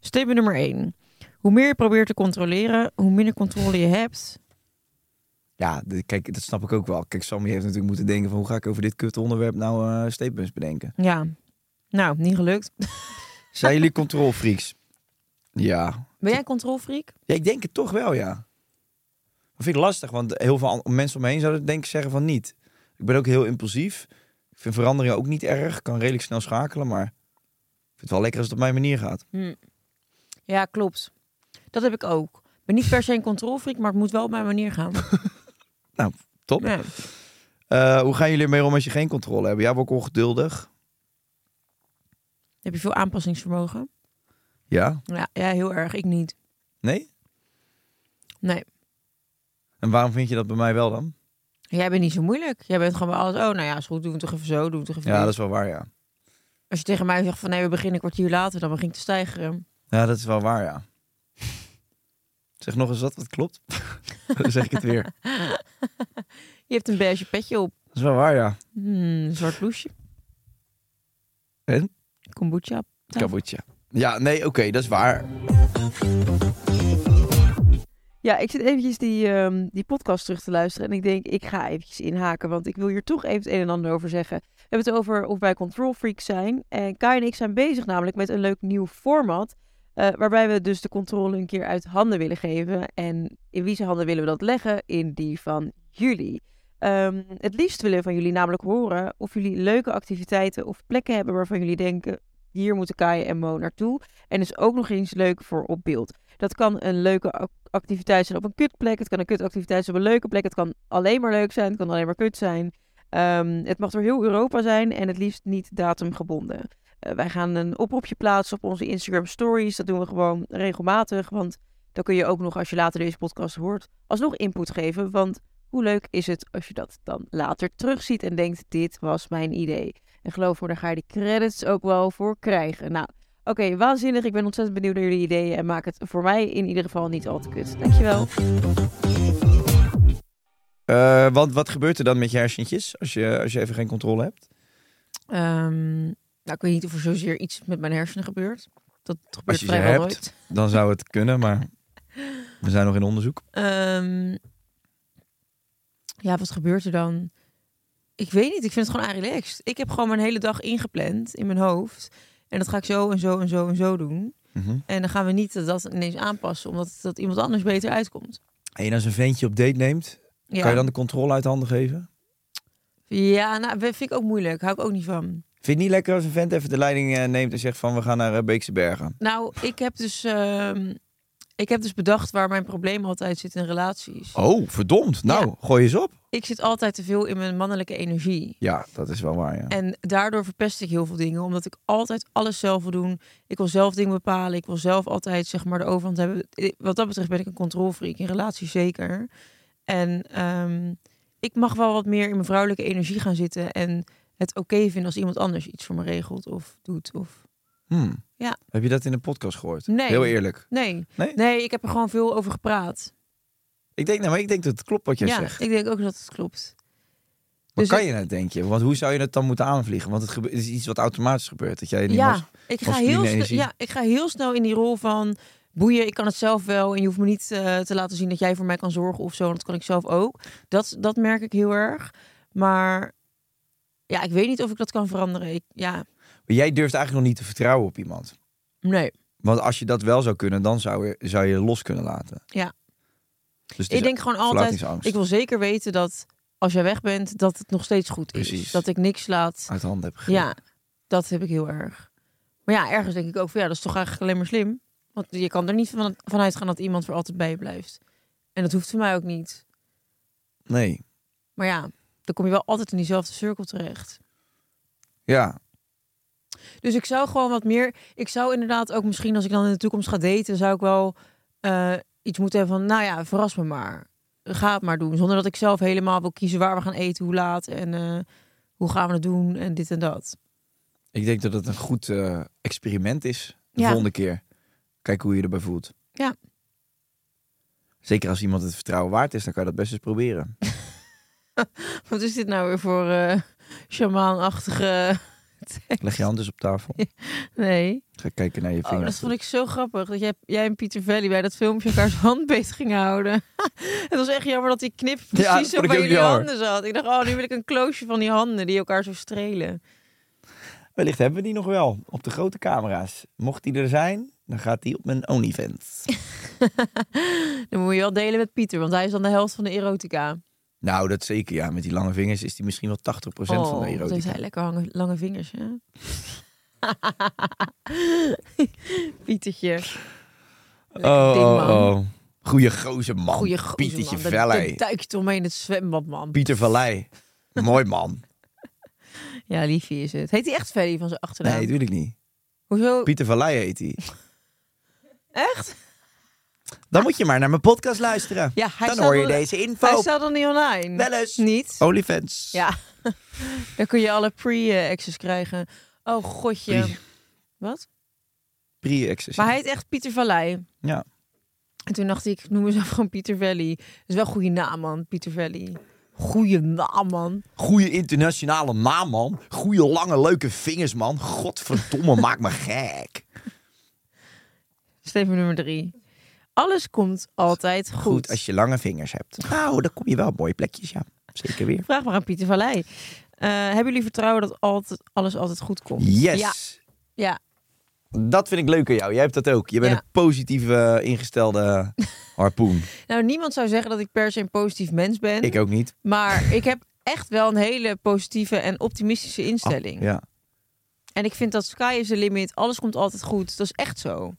[SPEAKER 6] Statement nummer 1. Hoe meer je probeert te controleren, hoe minder controle je hebt.
[SPEAKER 5] Ja, de- kijk, dat snap ik ook wel. Kijk, Sammy heeft natuurlijk moeten denken van hoe ga ik over dit kut onderwerp nou eh statements bedenken.
[SPEAKER 6] Ja, nou, niet gelukt.
[SPEAKER 5] Zijn jullie controlfreaks? Ja.
[SPEAKER 6] Ben jij een controlfreak?
[SPEAKER 5] ja. Ik denk het toch wel, ja. Dat vind ik lastig, want heel veel an- mensen om me heen zouden denk ik zeggen van niet. Ik ben ook heel impulsief. Ik vind veranderingen ook niet erg. kan redelijk snel schakelen, maar ik vind het wel lekker als het op mijn manier gaat.
[SPEAKER 6] Ja, klopt. Dat heb ik ook. Ik ben niet per se een controlfreak, maar het moet wel op mijn manier gaan.
[SPEAKER 5] *laughs* Nou, top.
[SPEAKER 6] Ja.
[SPEAKER 5] Eh, hoe gaan jullie ermee om als je geen controle hebt? Jij bent ook ongeduldig.
[SPEAKER 6] Heb je veel aanpassingsvermogen?
[SPEAKER 5] Ja.
[SPEAKER 6] Ja, ja, heel erg. Ik niet.
[SPEAKER 5] Nee?
[SPEAKER 6] Nee.
[SPEAKER 5] En waarom vind je dat bij mij wel dan?
[SPEAKER 6] Jij bent niet zo moeilijk. Jij bent gewoon bij alles. Oh, nou ja, is goed. Doen we toch even zo. Doen we toch even
[SPEAKER 5] Ja,
[SPEAKER 6] dit.
[SPEAKER 5] dat is wel waar, ja.
[SPEAKER 6] Als je tegen mij zegt van nee, we beginnen een kwartier later, dan begin ik te stijgen.
[SPEAKER 5] Ja, dat is wel waar, ja. Zeg nog eens wat, wat klopt. *laughs* dan zeg ik het weer.
[SPEAKER 6] Je hebt een beige petje op.
[SPEAKER 5] Dat is wel waar, ja.
[SPEAKER 6] Hmm, een zwart bloesje.
[SPEAKER 5] En?
[SPEAKER 6] Kombucha.
[SPEAKER 5] Kaboetje. Ja, nee, oké, dat is waar.
[SPEAKER 8] Ja, ik zit eventjes die, ehm, die podcast terug te luisteren. En ik denk, ik ga eventjes inhaken. Want ik wil hier toch even het een en ander over zeggen. We hebben het over of wij control freaks zijn. En Kai en ik zijn bezig namelijk met een leuk nieuw format. eh, waarbij we dus de controle een keer uit handen willen geven. En in wie zijn handen willen we dat leggen? In die van jullie. Ehm, het liefst willen we van jullie namelijk horen of jullie leuke activiteiten of plekken hebben waarvan jullie denken, hier moeten Kai en Mo naartoe. En is ook nog eens leuk voor op beeld. Dat kan een leuke ac- activiteit zijn op een kutplek. Het kan een kutactiviteit zijn op een leuke plek. Het kan alleen maar leuk zijn. Het kan alleen maar kut zijn. Ehm, het mag door heel Europa zijn en het liefst niet datumgebonden. Eh, wij gaan een oproepje plaatsen op onze Instagram stories. Dat doen we gewoon regelmatig. Want dan kun je ook nog, als je later deze podcast hoort, alsnog input geven. Want hoe leuk is het als je dat dan later terugziet en denkt, dit was mijn idee. En geloof me, daar ga je die credits ook wel voor krijgen. Nou, Oké, waanzinnig. Ik ben ontzettend benieuwd naar jullie ideeën. En maak het voor mij in ieder geval niet al te kut. Dankjewel.
[SPEAKER 5] Eh, want wat gebeurt er dan met je hersentjes als je, als je even geen controle hebt?
[SPEAKER 6] Ehm, nou, ik weet niet of er zozeer iets met mijn hersenen gebeurt. Dat gebeurt
[SPEAKER 5] je ze
[SPEAKER 6] vrijwel
[SPEAKER 5] hebt.
[SPEAKER 6] nooit.
[SPEAKER 5] Dan zou het kunnen, maar we zijn nog in onderzoek.
[SPEAKER 6] Ehm, ja, wat gebeurt er dan? Ik weet niet. Ik vind het gewoon aan relaxed. Ik heb gewoon mijn hele dag ingepland in mijn hoofd. En dat ga ik zo en zo en zo en zo doen.
[SPEAKER 5] Mhm.
[SPEAKER 6] En dan gaan we niet dat ineens aanpassen, omdat dat iemand anders beter uitkomt.
[SPEAKER 5] En als een ventje op date neemt,
[SPEAKER 6] Ja,
[SPEAKER 5] kan je dan de controle uit handen geven?
[SPEAKER 6] ja nou, vind ik ook moeilijk. Hou ik ook niet van.
[SPEAKER 5] Vind je het niet lekker als een vent even de leiding eh, neemt en zegt van we gaan naar eh, Beekse Bergen?
[SPEAKER 6] Nou, ik heb dus, ehm, ik heb dus bedacht waar mijn probleem altijd zit in relaties.
[SPEAKER 5] Oh, verdomd. Nou,
[SPEAKER 6] Ja.
[SPEAKER 5] gooi eens op.
[SPEAKER 6] Ik zit altijd te veel in mijn mannelijke energie.
[SPEAKER 5] Ja, dat is wel waar, ja.
[SPEAKER 6] En daardoor verpest ik heel veel dingen, omdat ik altijd alles zelf wil doen. Ik wil zelf dingen bepalen. Ik wil zelf altijd zeg maar de overhand hebben. Ik- Wat dat betreft ben ik een controlfreak in relaties zeker. En ehm, ik mag wel wat meer in mijn vrouwelijke energie gaan zitten en het oké vinden als iemand anders iets voor me regelt of doet of
[SPEAKER 5] Hmm.
[SPEAKER 6] Ja.
[SPEAKER 5] Heb je dat in de podcast gehoord?
[SPEAKER 6] Nee.
[SPEAKER 5] Heel eerlijk.
[SPEAKER 6] nee.
[SPEAKER 5] Nee?
[SPEAKER 6] ik heb er gewoon veel over gepraat.
[SPEAKER 9] Ik denk, nou, maar ik denk dat het klopt wat jij
[SPEAKER 6] ja,
[SPEAKER 9] zegt.
[SPEAKER 6] ik denk ook dat het klopt.
[SPEAKER 9] Maar
[SPEAKER 6] Dus
[SPEAKER 9] kan
[SPEAKER 6] ik-
[SPEAKER 9] je
[SPEAKER 5] nou
[SPEAKER 9] dat, denk je? Want hoe zou je dat dan moeten aanvliegen? Want het, gebe- het is iets wat automatisch gebeurt. Dat jij die mas-
[SPEAKER 6] Ja ik, ga
[SPEAKER 9] masculine
[SPEAKER 6] heel snel,
[SPEAKER 9] energie-
[SPEAKER 6] ja, ik ga heel snel in die rol van boeien, ik kan het zelf wel en je hoeft me niet eh, te laten zien dat jij voor mij kan zorgen of zo, want dat kan ik zelf ook. Dat, dat merk ik heel erg. Maar ja, ik weet niet of ik dat kan veranderen. Ik, ja,
[SPEAKER 9] Maar jij durft eigenlijk nog niet te vertrouwen op iemand.
[SPEAKER 6] nee.
[SPEAKER 9] Want als je dat wel zou kunnen, dan zou je, zou je los kunnen laten.
[SPEAKER 6] Ja.
[SPEAKER 9] Dus het is
[SPEAKER 6] Ik denk gewoon altijd,
[SPEAKER 9] verlatingsangst.
[SPEAKER 6] ik wil zeker weten dat als jij weg bent, dat het nog steeds goed is.
[SPEAKER 9] Precies.
[SPEAKER 6] Dat ik niks laat.
[SPEAKER 9] Uit handen heb gegeven.
[SPEAKER 6] Ja, dat heb ik heel erg. Maar ja, ergens denk ik ook van ja, dat is toch eigenlijk alleen maar slim. Want je kan er niet van, van uitgaan dat iemand voor altijd bij je blijft. En dat hoeft voor mij ook niet.
[SPEAKER 9] Nee.
[SPEAKER 6] Maar ja, dan kom je wel altijd in diezelfde cirkel terecht.
[SPEAKER 9] Ja.
[SPEAKER 6] Dus ik zou gewoon wat meer. Ik zou inderdaad ook misschien als ik dan in de toekomst ga daten, zou ik wel eh, iets moeten hebben van, nou ja, verras me maar. Ga het maar doen. Zonder dat ik zelf helemaal wil kiezen waar we gaan eten, hoe laat en eh, hoe gaan we het doen en dit en dat. *laughs*
[SPEAKER 9] Ik denk dat het een goed eh, experiment is. De
[SPEAKER 6] Ja.
[SPEAKER 9] volgende keer. Kijk hoe je erbij voelt.
[SPEAKER 6] Ja.
[SPEAKER 9] Zeker als iemand het vertrouwen waard is, dan kan je dat best eens
[SPEAKER 6] *laughs*
[SPEAKER 9] proberen.
[SPEAKER 6] Wat is dit nou weer voor eh shamaanachtige.
[SPEAKER 9] Leg je hand dus op tafel.
[SPEAKER 6] Nee.
[SPEAKER 9] Ga kijken naar je
[SPEAKER 6] Oh, dat
[SPEAKER 9] vingers.
[SPEAKER 6] vond ik zo grappig. Dat jij, jij en Pieter Valley bij dat filmpje elkaars hand beter gingen houden. *laughs* het was echt jammer dat die knip precies
[SPEAKER 9] dat
[SPEAKER 6] zo
[SPEAKER 9] vond ik
[SPEAKER 6] bij
[SPEAKER 9] ook
[SPEAKER 6] jullie
[SPEAKER 9] jammer.
[SPEAKER 6] handen zat. Ik dacht, oh, nu wil ik een kloosje van die handen die elkaar zo strelen. *laughs*
[SPEAKER 9] Wellicht hebben we die nog wel op de grote camera's. Mocht die er zijn, dan gaat die op mijn
[SPEAKER 6] *laughs*
[SPEAKER 9] OnlyFans.
[SPEAKER 6] Dan moet je wel delen met Pieter, want hij is dan de helft van de erotica.
[SPEAKER 9] nou, dat zeker. Ja, met die lange vingers is die misschien wel 80% van de
[SPEAKER 6] Oh, wat
[SPEAKER 9] erotica.
[SPEAKER 6] heeft hij lekker hangen- lange vingers, hè? *laughs* Pietertje.
[SPEAKER 9] Oh,
[SPEAKER 6] ding,
[SPEAKER 9] oh,
[SPEAKER 6] man.
[SPEAKER 9] oh. Goeie gozer man.
[SPEAKER 6] Goeie gozer,
[SPEAKER 9] Pietertje
[SPEAKER 6] man. Dat-
[SPEAKER 9] Vallei.
[SPEAKER 6] Dat duikt omheen het zwembad, man.
[SPEAKER 9] Pieter
[SPEAKER 6] *laughs*
[SPEAKER 9] Vallei. Mooi man.
[SPEAKER 6] Ja, liefje is het. Heet hij echt Ferry van zijn achternaam?
[SPEAKER 9] Nee, natuurlijk niet.
[SPEAKER 6] Hoezo?
[SPEAKER 9] Pieter Vallei heet hij.
[SPEAKER 6] Echt?
[SPEAKER 9] Dan moet je maar naar mijn podcast luisteren.
[SPEAKER 6] Ja, hij
[SPEAKER 9] dan
[SPEAKER 6] staat
[SPEAKER 9] hoor je
[SPEAKER 6] al-
[SPEAKER 9] deze info.
[SPEAKER 6] Hij staat dan niet online.
[SPEAKER 9] Wel eens. Oh.
[SPEAKER 6] Niet?
[SPEAKER 9] OnlyFans.
[SPEAKER 6] Ja. dan kun je alle pre-access krijgen. Oh, godje.
[SPEAKER 9] Pre-
[SPEAKER 6] Wat?
[SPEAKER 9] Pre-access.
[SPEAKER 6] Maar hij heet echt Pieter Vallei.
[SPEAKER 9] Ja.
[SPEAKER 6] En toen dacht ik, noem eens gewoon Pieter Valley. Dat is wel een goede naam, man. Pieter Valley. Goeie naam, man.
[SPEAKER 9] Goeie internationale naam, man. Goeie lange leuke vingers, man. Godverdomme, *laughs* maak me gek.
[SPEAKER 6] Steven nummer drie. Alles komt altijd goed.
[SPEAKER 9] Goed als je lange vingers hebt. Nou, dan kom je wel op mooie plekjes, ja. Zeker weer.
[SPEAKER 6] Vraag maar aan Pieter Vallei. Eh, hebben jullie vertrouwen dat altijd, alles altijd goed komt?
[SPEAKER 9] Yes.
[SPEAKER 6] Ja, ja.
[SPEAKER 9] Dat vind ik leuk aan jou. Jij hebt dat ook. Je bent
[SPEAKER 6] Ja.
[SPEAKER 9] een positief eh, ingestelde
[SPEAKER 6] *laughs*
[SPEAKER 9] harpoen.
[SPEAKER 6] Nou, niemand zou zeggen dat ik per se een positief mens ben.
[SPEAKER 9] ik ook niet.
[SPEAKER 6] Maar ik heb echt wel een hele positieve en optimistische instelling.
[SPEAKER 9] Ja.
[SPEAKER 6] En ik vind dat sky is the limit. Alles komt altijd goed. Dat is echt zo.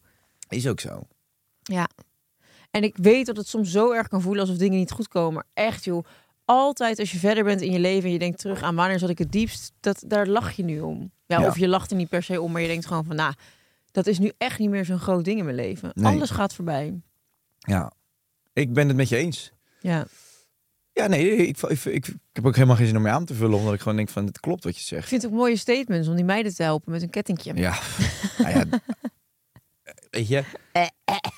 [SPEAKER 9] Is ook zo.
[SPEAKER 6] Ja. En ik weet dat het soms zo erg kan voelen alsof dingen niet goed komen. Maar echt joh, altijd als je verder bent in je leven en je denkt terug aan wanneer zat ik het diepst, dat, daar lach je nu om. Ja,
[SPEAKER 9] Ja.
[SPEAKER 6] Of je lacht er niet per se om, maar je denkt gewoon van, nou, dat is nu echt niet meer zo'n groot ding in mijn leven.
[SPEAKER 9] Nee.
[SPEAKER 6] Alles gaat voorbij.
[SPEAKER 9] Ja. Ik ben het met je eens.
[SPEAKER 6] Ja.
[SPEAKER 9] Ja, nee, ik, ik, ik, ik heb ook helemaal geen zin om je aan te vullen, omdat ik gewoon denk van, het klopt wat je
[SPEAKER 6] Ik
[SPEAKER 9] zegt.
[SPEAKER 6] vind het ook mooie statements om die meiden te helpen met een kettingje.
[SPEAKER 9] Ja, nou ja.
[SPEAKER 6] *laughs*
[SPEAKER 9] Weet je,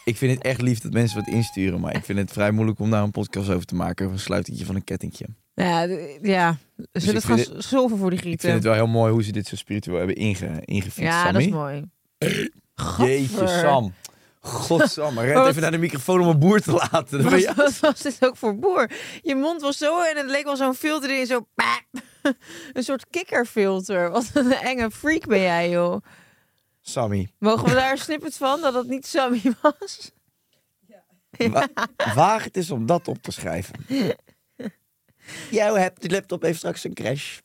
[SPEAKER 9] ik vind het echt lief dat mensen wat insturen, maar ik vind het vrij moeilijk om daar een podcast over te maken, over een sluitetje van een kettingje.
[SPEAKER 6] Ja, d- ja. Zullen
[SPEAKER 9] Dus ik
[SPEAKER 6] het gaan
[SPEAKER 9] vind
[SPEAKER 6] het... zoveel voor die
[SPEAKER 9] Ik
[SPEAKER 6] gieten?
[SPEAKER 9] vind het wel heel mooi hoe ze dit zo spiritueel hebben inge, ingefietst,
[SPEAKER 6] ja, dat
[SPEAKER 9] Sammy.
[SPEAKER 6] is mooi.
[SPEAKER 9] Jeetje,
[SPEAKER 6] Gadver.
[SPEAKER 9] Sam. God, Sam, red
[SPEAKER 6] Wat-
[SPEAKER 9] even naar de microfoon om een boer te laten. Dan ben
[SPEAKER 6] Wat,
[SPEAKER 9] je-
[SPEAKER 6] wat *laughs* was dit ook voor boer? Je mond was zo en het leek wel zo'n filter in, zo... *laughs* Een soort kikkerfilter. Wat een enge freak ben jij, joh.
[SPEAKER 9] Sammy,
[SPEAKER 6] Mogen we
[SPEAKER 9] *laughs*
[SPEAKER 6] daar een snippet van, dat het niet Sammy was?
[SPEAKER 9] wa- waag het eens om dat op te schrijven. Jouw hebt- de laptop heeft straks een crash.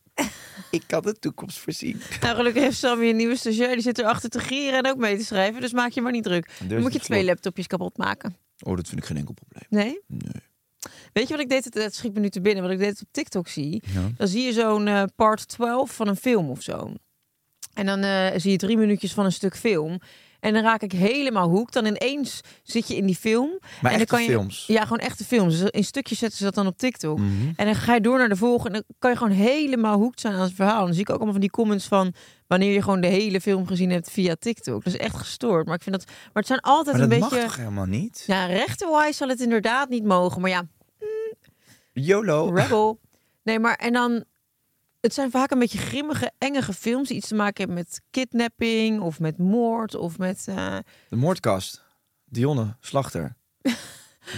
[SPEAKER 9] Ik kan de toekomst voorzien.
[SPEAKER 6] Nou, gelukkig heeft Sammy een nieuwe stagiair. Die zit erachter te gieren en ook mee te schrijven. Dus maak je maar niet druk. Dan moet je
[SPEAKER 9] het
[SPEAKER 6] twee
[SPEAKER 9] klopt.
[SPEAKER 6] laptopjes kapot maken.
[SPEAKER 9] Oh, dat vind ik geen enkel probleem.
[SPEAKER 6] Nee?
[SPEAKER 9] Nee.
[SPEAKER 6] Weet je wat ik deed? Het schiet me nu te binnen. Wat ik deed op TikTok zie.
[SPEAKER 9] Ja.
[SPEAKER 6] Dan zie je zo'n eh, part 12 van een film of zo. En dan eh, zie je drie minuutjes van een stuk film. En dan raak ik helemaal hoek. Dan ineens zit je in die film.
[SPEAKER 5] Maar
[SPEAKER 6] en dan
[SPEAKER 5] echte
[SPEAKER 6] kan je,
[SPEAKER 5] films?
[SPEAKER 6] Ja, gewoon echte films. Dus in stukjes zetten ze dat dan op TikTok.
[SPEAKER 5] Mhm.
[SPEAKER 6] En dan ga je door naar de volgende. En dan kan je gewoon helemaal hoekt zijn aan het verhaal. En dan zie ik ook allemaal van die comments van wanneer je gewoon de hele film gezien hebt via TikTok. Dat is echt gestoord. Maar ik vind dat. Maar het zijn altijd
[SPEAKER 5] Maar dat
[SPEAKER 6] een
[SPEAKER 5] mag
[SPEAKER 6] beetje.
[SPEAKER 5] toch helemaal niet?
[SPEAKER 6] Ja, rechtenwise zal het inderdaad niet mogen. Maar ja,
[SPEAKER 5] YOLO.
[SPEAKER 6] Rebel. Nee, maar en dan. Het zijn vaak een beetje grimmige, engere films die iets te maken hebben met kidnapping of met moord of met eh,
[SPEAKER 5] De moordkast. Dionne Slachter.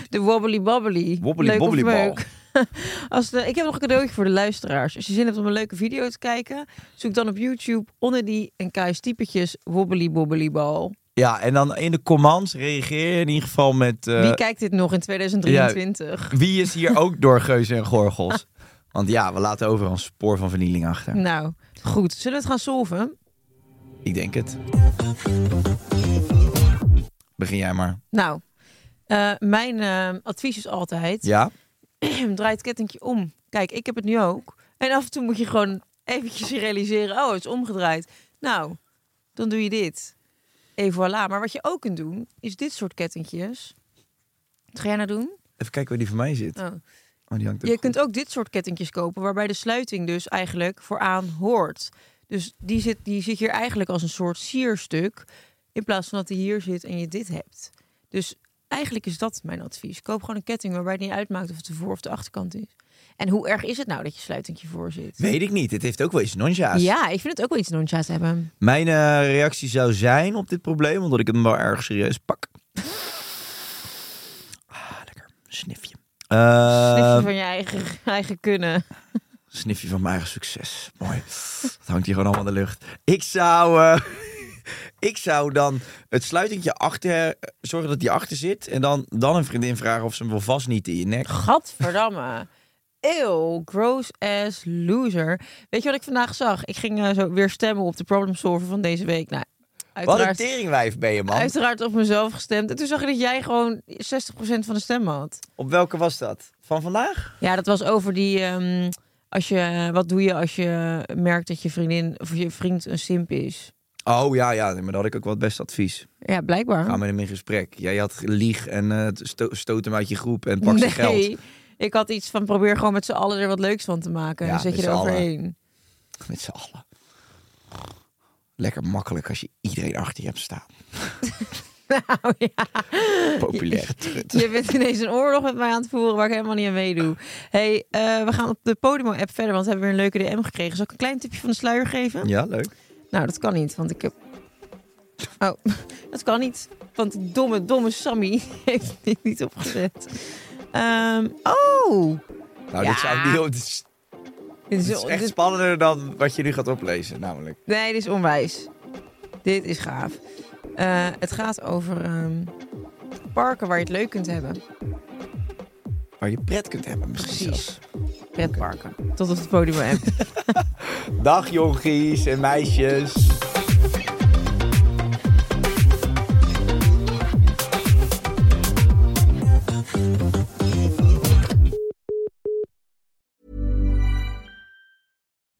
[SPEAKER 6] de wobbly bobbly.
[SPEAKER 5] Wobbly
[SPEAKER 6] Leuk of
[SPEAKER 5] bobbly bal.
[SPEAKER 6] leuk? *laughs* Als de, ik heb nog een cadeautje voor de luisteraars. Als je zin hebt om een leuke video te kijken, zoek dan op YouTube onder die en Kai's typetjes wobbly bobbly bal.
[SPEAKER 5] Ja, en dan in de commands reageer je in ieder geval met... eh,
[SPEAKER 6] Wie kijkt dit nog in 2023?
[SPEAKER 5] Wie is hier ook door Geuzen en Gorgels? Want ja, we laten overal een spoor van vernieling achter.
[SPEAKER 6] Nou, goed. Zullen we het gaan solven?
[SPEAKER 5] Ik denk het. Begin jij maar.
[SPEAKER 6] Nou, eh, mijn eh, advies is altijd...
[SPEAKER 5] Ja?
[SPEAKER 6] *clears throat* draai het kettingje om. Kijk, ik heb het nu ook. En af en toe moet je gewoon eventjes *laughs* realiseren... oh, het is omgedraaid. Nou, dan doe je dit. En voilà. Maar wat je ook kunt doen, is dit soort kettingjes. Wat ga jij nou doen?
[SPEAKER 5] Even kijken waar die van mij zit.
[SPEAKER 6] Oh.
[SPEAKER 5] Oh, die hangt ook
[SPEAKER 6] Je kunt ook dit soort kettingjes kopen... waarbij de sluiting dus eigenlijk vooraan hoort. Dus die zit, die zit hier eigenlijk als een soort sierstuk... in plaats van dat die hier zit en je dit hebt. Dus eigenlijk is dat mijn advies. Koop gewoon een ketting waarbij het niet uitmaakt... of het de voor- of de achterkant is. En hoe erg is het nou dat je sluitingje voor zit?
[SPEAKER 5] Weet ik niet. Het heeft ook wel iets noncha's.
[SPEAKER 6] Ja, ik vind het ook wel iets noncha's hebben.
[SPEAKER 5] Mijn eh, reactie zou zijn op dit probleem, omdat ik hem wel erg serieus pak. Ah, lekker. Snifje.
[SPEAKER 9] Ehm,
[SPEAKER 5] Eh,
[SPEAKER 6] Snifje van je eigen, eigen kunnen.
[SPEAKER 5] snifje van mijn eigen succes. Mooi. Dat hangt hier gewoon allemaal in de lucht. Ik zou, eh, *laughs* ik zou dan het sluitingje achter, zorgen dat die achter zit. En dan, dan een vriendin vragen of ze hem wil vastnieten in je nek.
[SPEAKER 6] Gadverdamme. Eeuw, gross ass loser. Weet je wat ik vandaag zag? Ik ging eh, zo weer stemmen op de problem solver van deze week. Nou,
[SPEAKER 5] Wat een
[SPEAKER 6] uiteraard,
[SPEAKER 5] teringwijf ben je, man.
[SPEAKER 6] uiteraard op mezelf gestemd. En toen zag ik dat jij gewoon 60% van de stemmen had.
[SPEAKER 5] Op welke was dat? Van vandaag?
[SPEAKER 6] Ja, dat was over die... ehm, als je, wat doe je als je merkt dat je vriendin of je vriend een simp is?
[SPEAKER 5] Oh ja, ja, nee, maar dat had ik ook wel het beste advies.
[SPEAKER 6] Ja, blijkbaar.
[SPEAKER 5] Ga met hem in gesprek. Jij had lieg en eh, sto- stoot hem uit je groep en pak zijn geld.
[SPEAKER 6] nee, ik had iets van probeer gewoon met z'n allen er wat leuks van te maken.
[SPEAKER 5] Ja,
[SPEAKER 6] en zet
[SPEAKER 5] met
[SPEAKER 6] je
[SPEAKER 5] z'n
[SPEAKER 6] er
[SPEAKER 5] allen.
[SPEAKER 6] overheen. *laughs*
[SPEAKER 5] Met z'n allen. Lekker makkelijk als je iedereen achter je hebt staan.
[SPEAKER 6] Nou *laughs* ja.
[SPEAKER 5] Populaire trut.
[SPEAKER 6] Je bent ineens een oorlog met mij aan het voeren waar ik helemaal niet aan meedoe. hey, eh, we gaan op de Podimo-app verder, want we hebben weer een leuke DM gekregen. Zal ik een klein tipje van de sluier geven?
[SPEAKER 5] Ja, leuk.
[SPEAKER 6] Nou, dat kan niet, want ik heb... Oh, *laughs* dat kan niet, want die domme, domme Sammy *laughs* heeft dit niet opgezet. Ehm, oh!
[SPEAKER 5] Nou, dit,
[SPEAKER 6] Ja.
[SPEAKER 5] zou niet, dit, is,
[SPEAKER 6] Dit is,
[SPEAKER 5] dit is echt
[SPEAKER 6] dit-
[SPEAKER 5] spannender dan wat je nu gaat oplezen, namelijk.
[SPEAKER 6] Nee, dit is onwijs. Dit is gaaf. Eh, het gaat over ehm, parken waar je het leuk kunt hebben.
[SPEAKER 5] Waar je pret kunt hebben, misschien
[SPEAKER 6] Precies. Pretparken. Tot op het podium app.
[SPEAKER 5] zelfs. Dag jonkies en meisjes.